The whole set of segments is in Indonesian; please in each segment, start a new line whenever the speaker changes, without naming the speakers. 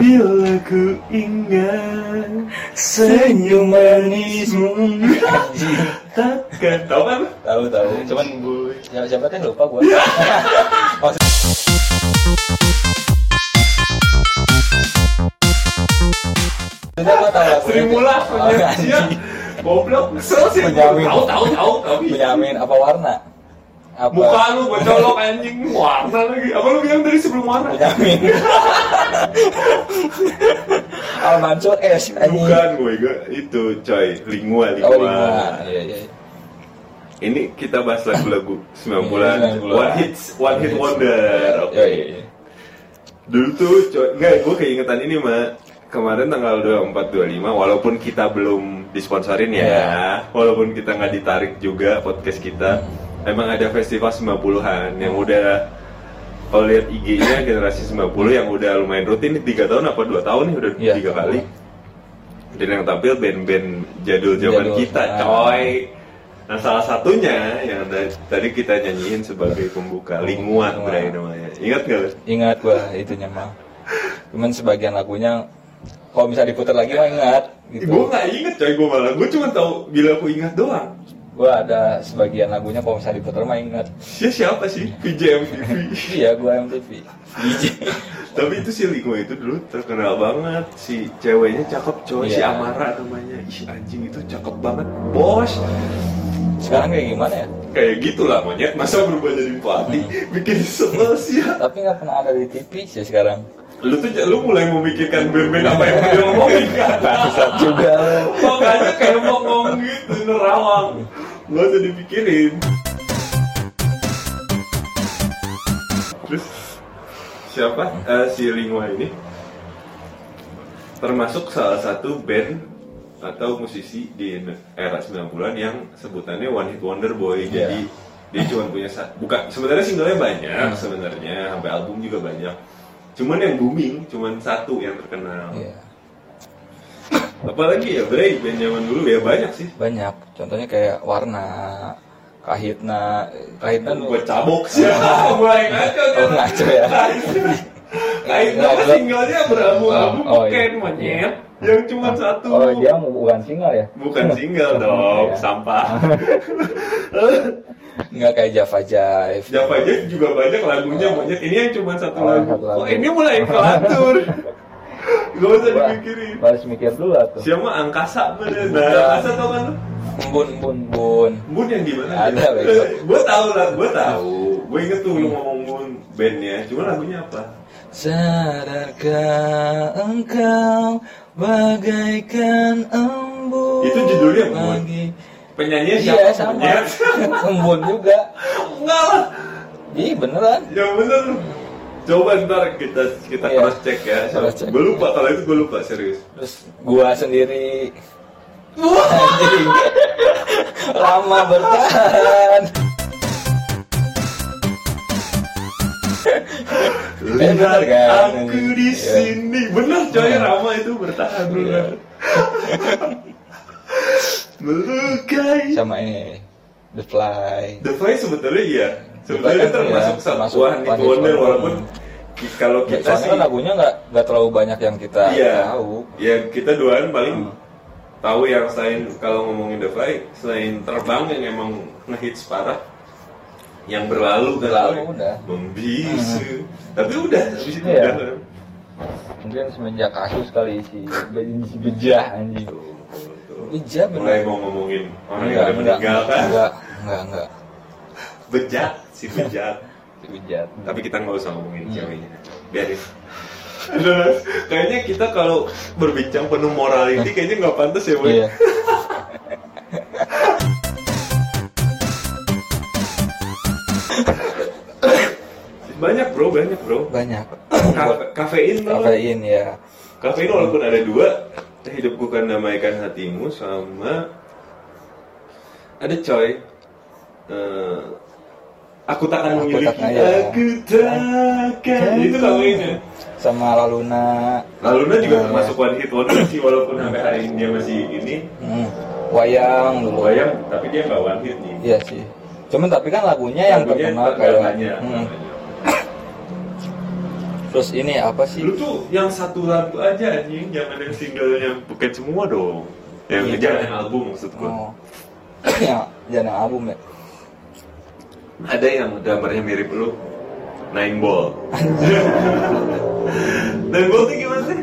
Bila ku ingat senyum manismu Takkan Tau kan?
Tahu tahu. Cuman
Boy
siapa siapa kan lupa gua. Maksud- Maksudnya gua tahu lagu Oh,
Sri Iya. Mula
punya
penyanyi Goblok Kesel sih
Penjamin.
Tau tau tau Tapi
Benyamin apa warna? Apa?
Muka lu gue colok anjing Warna lagi Apa lu bilang dari sebelum warna?
Benyamin. Al Mansur S anjing.
Bukan gue, gue itu coy, lingua, lingua.
Oh, lima. Iya, iya.
Ini kita bahas lagu-lagu 90-an.
Iya, 90-an.
One hits, one hit
Hits.
wonder. Oke.
Iya, iya, iya.
Dulu tuh coy, enggak gue keingetan ini, Mak. Kemarin tanggal 24 25 walaupun kita belum disponsorin ya,
Iya.
walaupun kita nggak ditarik juga podcast kita, emang ada festival 90-an yang udah kalau lihat IG-nya generasi 90 yang udah lumayan rutin 3 tahun apa 2 tahun nih udah
Iya.
tiga kali. Dan yang tampil band-band jadul zaman
Jadul.
kita,
Ah.
coy. Nah, salah satunya yang da- tadi kita nyanyiin sebagai pembuka Lingua
Lingua.
Bray namanya. Ingat gak lu?
Ingat gua itunya mah. Cuman sebagian lagunya kalau bisa diputar lagi mah ingat gitu.
Gue gak inget coy, gue malah gue cuma tahu bila aku ingat doang.
Gua ada sebagian lagunya kalau bisa diputar mah ingat.
Dia siapa sih? PJ MVP.
Iya, gua MTV. DJ.
Tapi itu si Lingua itu dulu terkenal banget. Si ceweknya cakep coy, si
Iya.
Amara namanya. Ih anjing itu cakep banget, bos.
Sekarang kayak gimana ya?
Kayak gitu lah monyet, masa berubah jadi pelatih? Bikin sebel sih ya.
Tapi nggak pernah ada di TV sih sekarang.
Lu tuh lu mulai memikirkan band-band apa yang dia ngomongin kan?
Nah, Juga lu.
Makanya kayak ngomong gitu, nerawang. Gak usah dipikirin. Terus siapa eh, si Lingua ini? Termasuk salah satu band atau musisi di era 90-an yang sebutannya One Hit Wonder Boy.
Iya.
Jadi dia cuma punya satu bukan sebenarnya singlenya banyak
Hmm.
sebenarnya sampai album juga banyak. Cuman yang booming cuman satu yang terkenal.
Iya.
Apalagi ya Bray, band zaman dulu ya banyak sih.
Banyak. Contohnya kayak warna kahitna kahitna
Kan gue cabok sih. Mulai ngaco
oh ngaco ya
Nah,
Nah,
Kain nama Nah, singlenya berabu-abu
Oh, oh,
bukan
iya.
monyet yang cuma satu.
oh dia mau bukan single ya
Bukan single dong,
iya.
sampah.
nggak kayak Java Jive
Java Jazz juga banyak lagunya monyet. Ini yang cuma satu
Oh,
lagu.
satu lagu.
Oh, ini mulai kelatur. Gak usah
Wah,
dipikirin.
harus mikir dulu tuh
Siapa angkasa bener? Nah,
Bukan.
angkasa tau kan? lu?
bun bun bun
Bun yang gimana?
Ada, Bego.
Gue tau lah, gue tau. Gue inget tuh lu ngomong Bun bandnya. Cuma lagunya apa?
sadarkah engkau bagaikan embun
Itu judulnya embun.
lagi
Penyanyinya siapa?
iya sama
Monyet?
embun juga
Enggak lah.
ih beneran
Yang bener. Coba ntar kita kita
Iya.
cross check ya.
Cross check.
Gue lupa kalau itu gue lupa serius.
terus gua sendiri Anjing. lama bertahan Eh, bener
Lihat
kan?
aku di
Iya.
sini. Bener coy Rama itu bertahan
Iya.
bener. Melukai.
sama ini The Fly
The Fly sebetulnya iya. Sebenarnya
The Fly kan
termasuk
iya,
satu
termasuk
One Hit
One Hit
Wonder
Wonder.
walaupun ki- kalau
Ya,
kita
soalnya
sih
kan lagunya nggak nggak terlalu banyak yang kita
iya,
tahu Hmm.
ya kita duaan paling tahu yang selain kalau ngomongin The Fly selain terbang yang emang ngehits parah yang berlalu kan
Berlalu,
Fly.
udah. Hmm.
membisu tapi udah habis itu
Iya.
udah
mungkin semenjak kasus kali si Be- si bejah anjing
Tuh, tuh.
Iya, bener. Iya,
mulai mau ngomongin orang yang udah meninggal kan
enggak enggak enggak
bejat si bejat
si bejat
tapi kita nggak usah
Hmm.
ngomongin ceweknya biarin Terus, kayaknya kita kalau berbincang penuh morality kayaknya nggak pantas ya Boy?
iya
banyak bro banyak bro
banyak
Kafe- kafein tau nggak?
kafein ya
kafein walaupun ada dua hidupku kan damaikan hatimu sama ada coy Eh, aku takkan
Aku
memiliki
takkan, ya.
aku takkan itu kafeinnya
sama Laluna
Laluna juga
Nah, ya.
termasuk one hit wonder sih walaupun sampai hari ini dia masih ini
Hmm, wayang dulu
bayang tapi dia nggak one hit nih
iya sih cuman tapi kan lagunya yang Hmm.
Lagunya
terkenal
nggak
kayak
banyak, nggak
Hmm,
banyak.
Terus ini apa sih?
Lu
Oh.
tuh yang satu lagu aja anjing, jangan yang singlenya bukan semua dong. Yang
Iya,
jangan
iya.
yang album maksud gua.
Oh. ya, jangan yang album ya.
Ada yang gambarnya mirip lu. Nine Ball. Nine Ball tuh gimana sih?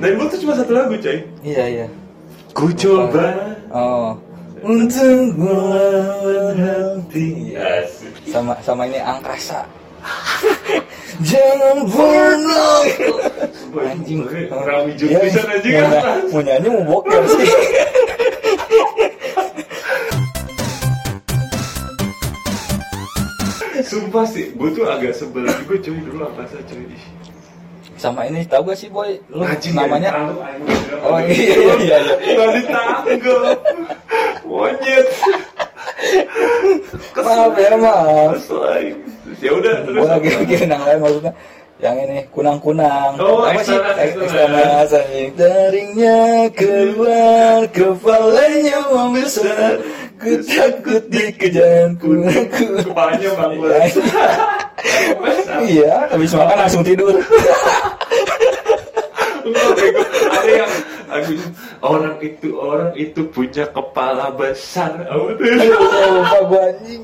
Nine Ball tuh cuma satu lagu, coy.
Iya iya.
Ku coba
Oh. Untung gua
berhenti. Asik.
sama sama ini angkasa. Jangan pernah. Anjing. Iya.
Rami juga bisa anjing
mau
kan?
ny- Mau nyanyi mau boker sih.
Sumpah sih, gue tuh agak sebel juga cuy dulu apa sih cuy Ih,
Sama ini tahu gak sih boy? Lu
anjing
namanya
dari tahu, anjing.
Oh iya iya iya. iya.
Gak ditanggap Monyet
Maaf ya, maaf.
Kesel aing. Ya udah terus
Gua lagi
apa?
mikirin yang lain maksudnya yang ini kunang-kunang
Oh,
apa sih
eksternal,
Ek-
eksternal.
eksternal anjing. taringnya keluar kepalanya membesar ku takut dikejar kunang-kunang
Kepalanya bangun
iya habis makan langsung tidur
Ada yang Agus Orang itu Orang itu punya kepala besar Apa
Aduh,
tuh?
lupa gua anjing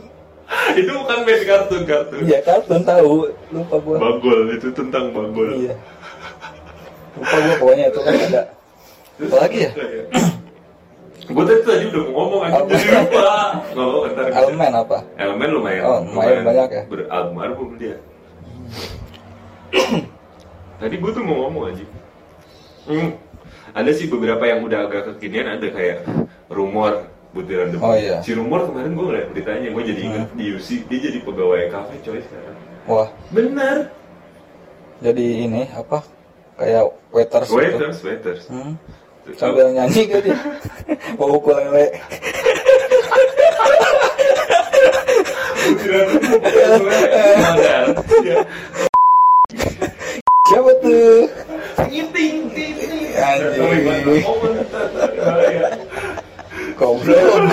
Itu bukan main kartun Kartun
iya kartun tahu lupa gua
Bagol Itu tentang bagol
iya lupa gua pokoknya itu kan ada apa lagi ya
Gue tadi tadi udah mau ngomong aja
Apa?
jadi lupa. Nggak apa-apa, ntar bisa.
elemen apa
Elemen lumayan.
Oh, lumayan banyak ya?
Beralmarhum dia. tadi gue tuh mau ngomong aja. Hmm. Ada sih beberapa yang udah agak kekinian ada kayak rumor butiran debu.
Oh, iya.
Si rumor kemarin gue ngeliat beritanya, gue jadi inget di UC dia jadi pegawai kafe coy sekarang.
wah
Benar.
jadi ini apa kayak waiters gitu.
Waiters, waiters.
Hmm. Sambil nyanyi gitu dia. Bawa ukulele.
Butiran debu, butiran debu. Benar. Iya.
Siapa tuh?
Ngiting, ngiting.
Anjing.
Oh,
Goblok.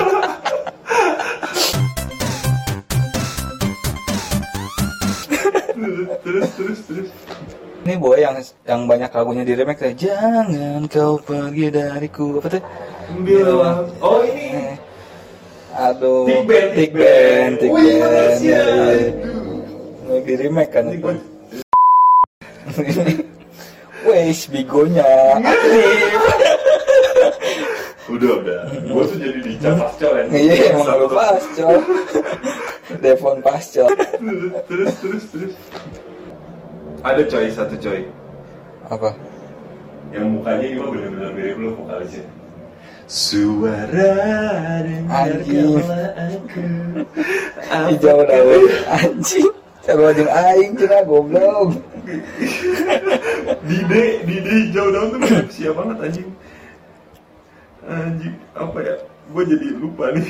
terus terus terus
Ini boy yang yang banyak lagunya di remake kayak Jangan kau pergi dariku. Apa tuh?
Bila oh ini
Eh, Aduh,
Big Band,
Big
Big
Band,
Band.
Big
Wih,
Band.
Malaysia.
iya, iya. Lagi remake kan itu. Wes bigonya aktif.
udah udah gue tuh jadi dicap pasca kan
Iya, emang lu pascol. Devon pascol.
terus terus terus ada coy satu coy
Apa?
yang mukanya gue bener-bener mirip lu vokalisnya Suara dengarkanlah aku
hijau daun anjing Cara wajib aing cina goblok
Dide, Dide hijau daun tuh mirip siapa banget anjing Anjing, apa ya? Gue jadi lupa nih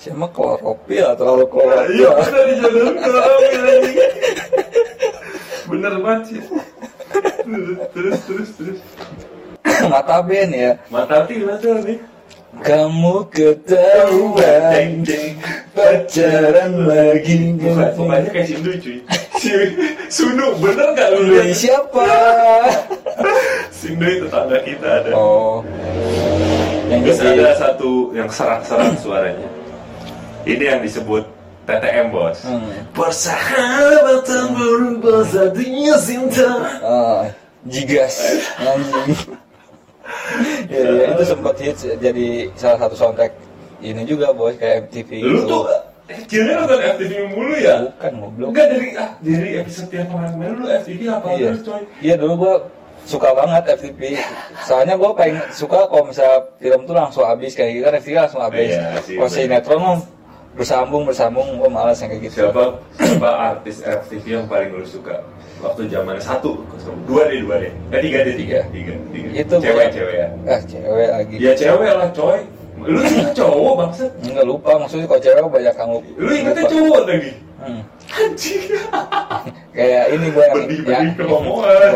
Siapa kloropil terlalu kloropil
Iya bener di jodoh kelamil anjing Bener banget sih Terus terus terus
Mata ben ya
Mata hati gimana tuh nih?
Kamu ketahuan Pacaran lagi
Bukan, bukannya kayak Sindu cuy Si Sunu bener gak lu liat?
Dari siapa?
Sindu itu tetangga kita ada
Oh Yang
Terus
jadi
ada satu yang serak-serak suaranya Ini yang disebut TTM bos
Hmm.
Persahabatan berubah satunya cinta
Ah, Jigas anjing Iya, iya, itu sempat hits jadi salah satu soundtrack ini juga boy kayak MTV
Lu
gitu.
tuh kira nonton FTV mulu ya?
bukan goblok
Enggak dari ah, dari episode yang kemarin-kemarin lu FTV apa
iya.
terus coy?
Iya dulu gua suka banget FTP. Soalnya gua pengen suka kalau misalnya film tuh langsung habis kayak gitu kan FTP langsung habis.
Iya sih,
kalau sinetron mah bersambung bersambung gua malas yang kayak gitu.
Siapa siapa artis FTV yang paling lu suka? Waktu zaman satu, dua deh dua deh, eh tiga deh tiga, tiga, tiga.
Itu
cewek
gua-
cewek ya.
Ah, cewek lagi.
Iya.
Ya cewek lah coy. Lu juga cowok bangset.
Enggak lupa maksudnya kalau cewek banyak yang lupa.
Lu ingetnya cowok lagi. Iya.
Hmm.
Anjing.
Kayak ini gua yang
Benih-benih
ya,
kehomoan.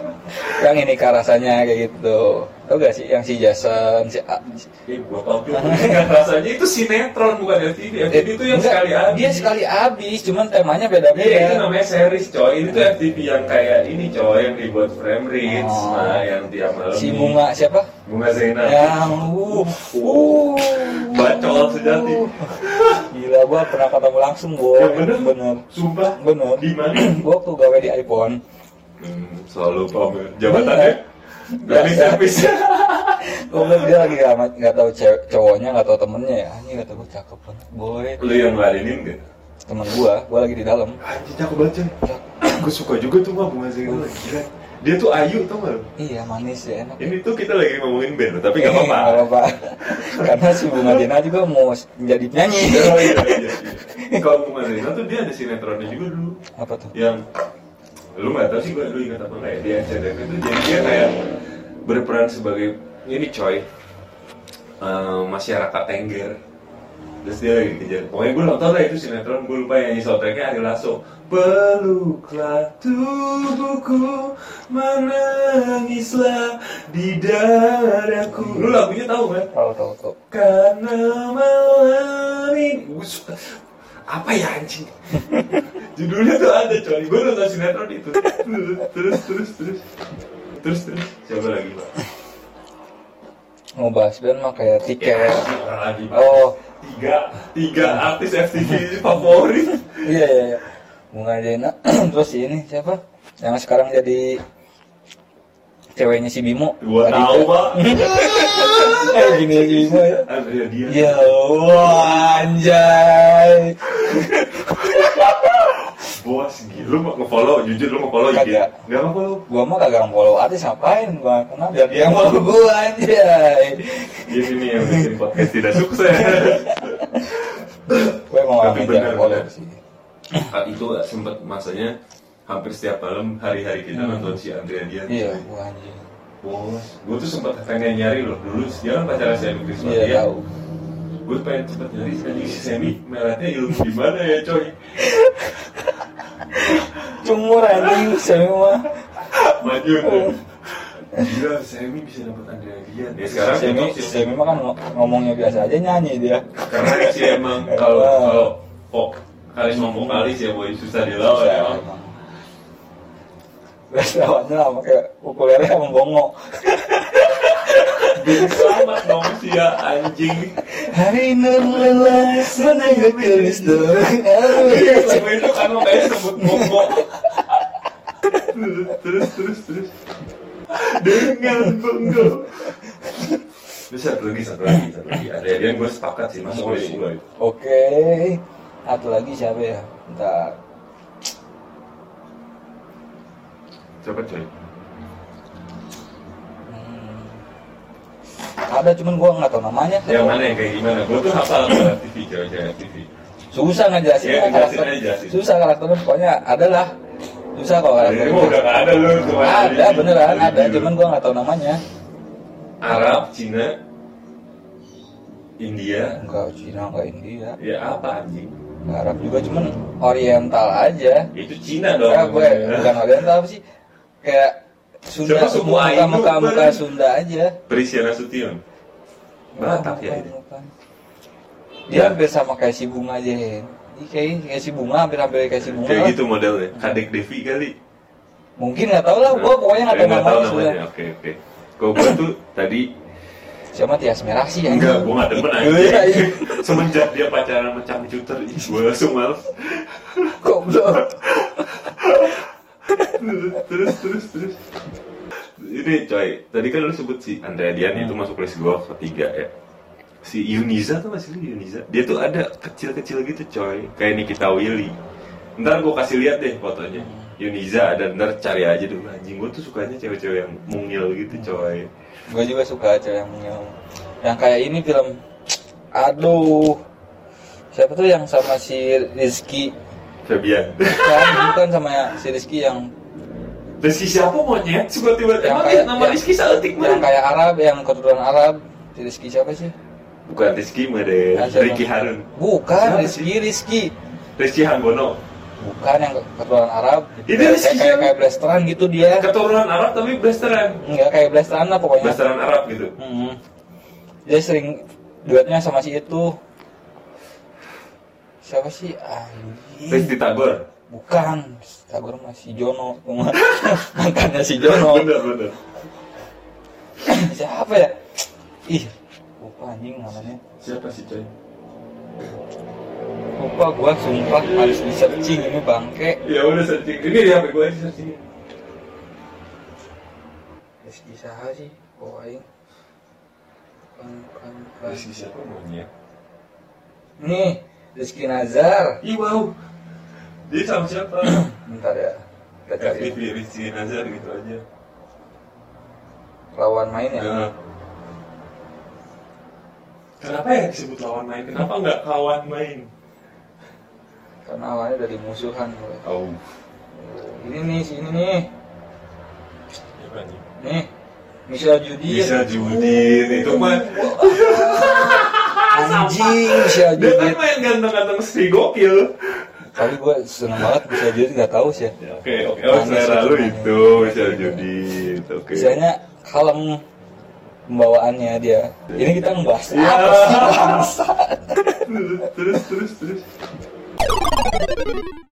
yang ini kak rasanya kayak gitu tau gak sih yang si Jason si A-
Eh, gua tau juga. Ingat rasanya itu sinetron bukan FTV. FTV itu yang
Enggak,
sekali habis.
dia sekali habis cuman temanya beda-beda
Iya itu namanya series coy. Ini
Iya.
tuh FTV yang kayak ini coy yang dibuat frame reels,
Oh.
nah yang tiap malam.
si bunga siapa
Bunga Zena.
Ya.
yang uh, uh
Bacol sejati.
gila gua pernah ketemu langsung gua
Ya bener.
bener
Sumpah.
bener
Di mana?
gua waktu gawe di iPhone
Hmm, selalu pamer. Jabatannya dari
Biasa.
servis.
gua bilang dia lagi nggak nggak tahu cewek- cowoknya nggak tahu temennya ya ini kata gua cakep banget boy
Lu yang ngelarinin gak?
temen gua gua lagi di dalam
Anjing aku baca. Gue suka juga tuh mah bunga Zena. Gila. Dia tuh ayu tau gak? lu? Iya.
iya manis ya enak Eh,
Ini tuh kita lagi ngomongin band tapi gak apa-apa.
Nggak apa-apa. Karena si Bunga Dena juga mau jadi penyanyi.
Oh, iya, iya, iya. Kalau bunga Zena tuh dia ada sinetronnya juga dulu.
Apa tuh?
yang lu nggak tahu sih gue dulu ingat apa nggak ya di SCTV itu jadi dia kayak berperan sebagai ini coy eh, masyarakat tengger terus dia lagi kejar pokoknya gue nonton lah itu sinetron gue lupa yang soundtracknya Ari Lasso peluklah tubuhku menangislah di dadaku lu lagunya tahu kan
Tahu tahu tahu.
karena malam ini Us- apa ya anjing judulnya tuh ada coy gue nonton sinetron itu terus terus terus terus terus siapa lagi pak
Mau bahas band mah kayak tiket.
Ya, siapa lagi pak
Oh.
tiga tiga artis FTV favorit
Iya iya iya. Bunga Dena terus si ini siapa? Yang sekarang jadi ceweknya si Bimo.
gua
Adita.
tahu pak
Eh gini si Bimo ya.
Andrea dia
Ya Allah anjay.
bos gila lu mau ngefollow jujur lu mau follow IG
Kagak.
nggak mau follow
Gua mah kagak follow artis ngapain gua kenapa
Ya,
dia mau gua anjay.
dia Iya, sini yang bikin podcast tidak sukses
Gue mau
Tapi
ambil
benar,
jangan follow
benar.
sih.
Ah, itu sempat masanya hampir setiap malam hari-hari kita nonton si Andrea dia
Hmm. Iya, gua anjing.
Bos, gue tuh sempat pengen nyari loh dulu dia kan pacaran si Anu Krisma
Iya
ya.
tahu.
Gue pengen cepet nyari sekali si Semi melatnya ilmu gimana ya coy?
Cumur anjing semua.
Maju tuh.
Oh.
Gila Semi bisa dapet Andrea Dian. Ya sekarang
Semi,
cocok sih.
Semi mah kan ngo- ngomongnya biasa aja nyanyi dia.
Karena sih emang kalau
Ah.
kalau pop kali mau vokalis ya boy susah dilawan
Susah,
ya.
emang. Terus lawannya sama kayak ukulele sama bongo.
Selamat dong si ya, anjing.
Hari nun lelah menengok gelis dorong arus.
Lagu itu kan lo kayak sebut bongo. terus terus terus dengan bongo. Terus satu lagi satu lagi satu lagi ada yang gue sepakat sih masuk oleh gue.
Oke, satu lagi siapa ya? Bentar.
Siapa coy?
Hmm. Ada cuman gua nggak tahu namanya.
Yang Ya, mana yang kayak gimana? Gue tuh hafal sama TV coy coy TV.
Susah
Iya,
ngejelasinnya
jelasin
karakter.
aja, jelasin.
Susah karakternya pokoknya adalah susah kalau
Ini
karakternya.
mah udah gak ada lu cuma
Oh, iya. Ada
ini.
beneran ada,
Ini.
cuman gua nggak tahu namanya.
Arab, Cina, India,
Enggak Cina, enggak India,
ya apa anjing?
enggak Arab juga, cuman Oriental aja.
Itu Cina dong.
Ya gue bukan Oriental apa sih? Kayak Sunda,
Siapa semua
muka
Hindu,
muka muka
Bang?
Sunda aja.
Prisiana Sution. Batak ya ini.
Bukan. Dia
Ya.
hampir sama kayak si bunga aja. Hen. Ini kayak kayak si bunga, hampir hampir kayak si bunga.
Kayak
lah.
gitu modelnya. Kadek Devi kali.
Mungkin nggak tahu lah, gue pokoknya nggak tahu ya.
Eh,
namanya sudah.
Oke, oke. Kok gue tuh tadi
Siapa Tias Merah sih ya?
enggak, gue nggak demen aja.
Iya, iya.
Semenjak dia pacaran sama Cang Cuter, ih, gue langsung males.
Goblok.
terus, terus, terus. Ini coy, tadi kan lu sebut si Andrea Dian itu masuk list gue ketiga ya. Si Yuniza tuh masih lu Yuniza. Dia tuh ada kecil-kecil gitu coy, kayak Nikita Willy. Ntar gue kasih lihat deh fotonya. Yuniza ada ntar cari aja dulu anjing gue tuh sukanya cewek-cewek yang mungil gitu coy.
Gue juga suka cewek yang mungil. Yang kayak ini film Aduh Siapa tuh yang sama si Rizky
Fabian.
Bukan, bukan sama ya, si Rizky yang
Dan si siapa monyet? Suka tiba
Yang
Emang
kayak-
nama
yang-
Rizky Saltik
Yang
mana?
kayak Arab, yang keturunan Arab Si Rizky siapa sih?
Bukan Eh, Rizky mah deh.
Ah, siapa?
Ricky Harun.
Bukan,
Siapa
Rizky, Rizky
Rizky Hanggono.
bukan yang keturunan Arab
Itu
kayak,
Rizky
kayak,
Syam.
kayak blasteran gitu dia
Keturunan Arab tapi blasteran.
enggak kayak blasteran lah pokoknya
Blasteran Arab gitu.
Mm-mm. dia sering duetnya sama si itu siapa sih anjing
Risti Tagor.
bukan Tagor mah si Jono mantannya si Jono
Bener bener.
siapa ya ih lupa anjing namanya
Siapa sih coy?
lupa gua sumpah harus di searching ini bangke
Ya udah searching. Ini di HP gue aja searching.
Rizky Saha sih oh aing Bukan, bukan, bukan.
Rizky siapa maunya?
nih Rizky Nazar
Ih wow. Dia sama siapa?
bentar ya kita cari
FTV Rizky Nazar gitu aja.
lawan main ya
Nah. Kenapa ya disebut lawan main? Kenapa nggak kawan main?
karena awalnya dari musuhan
Oh,
ini nih si ini nih
siapa nih?
nih Michelle Judir
Bisa Judin itu mah
anjing Michelle
dia kan
Judir
main ganteng-ganteng si gokil.
tapi gua seneng banget Michelle Judir nggak tahu sih ya.
Ya, Oke oke, oh, selera lu itu bisa Judin. Oke.
Misalnya kalem pembawaannya dia. Ini kita ngebahas
Ya.
apa sih bangsa?
terus terus terus.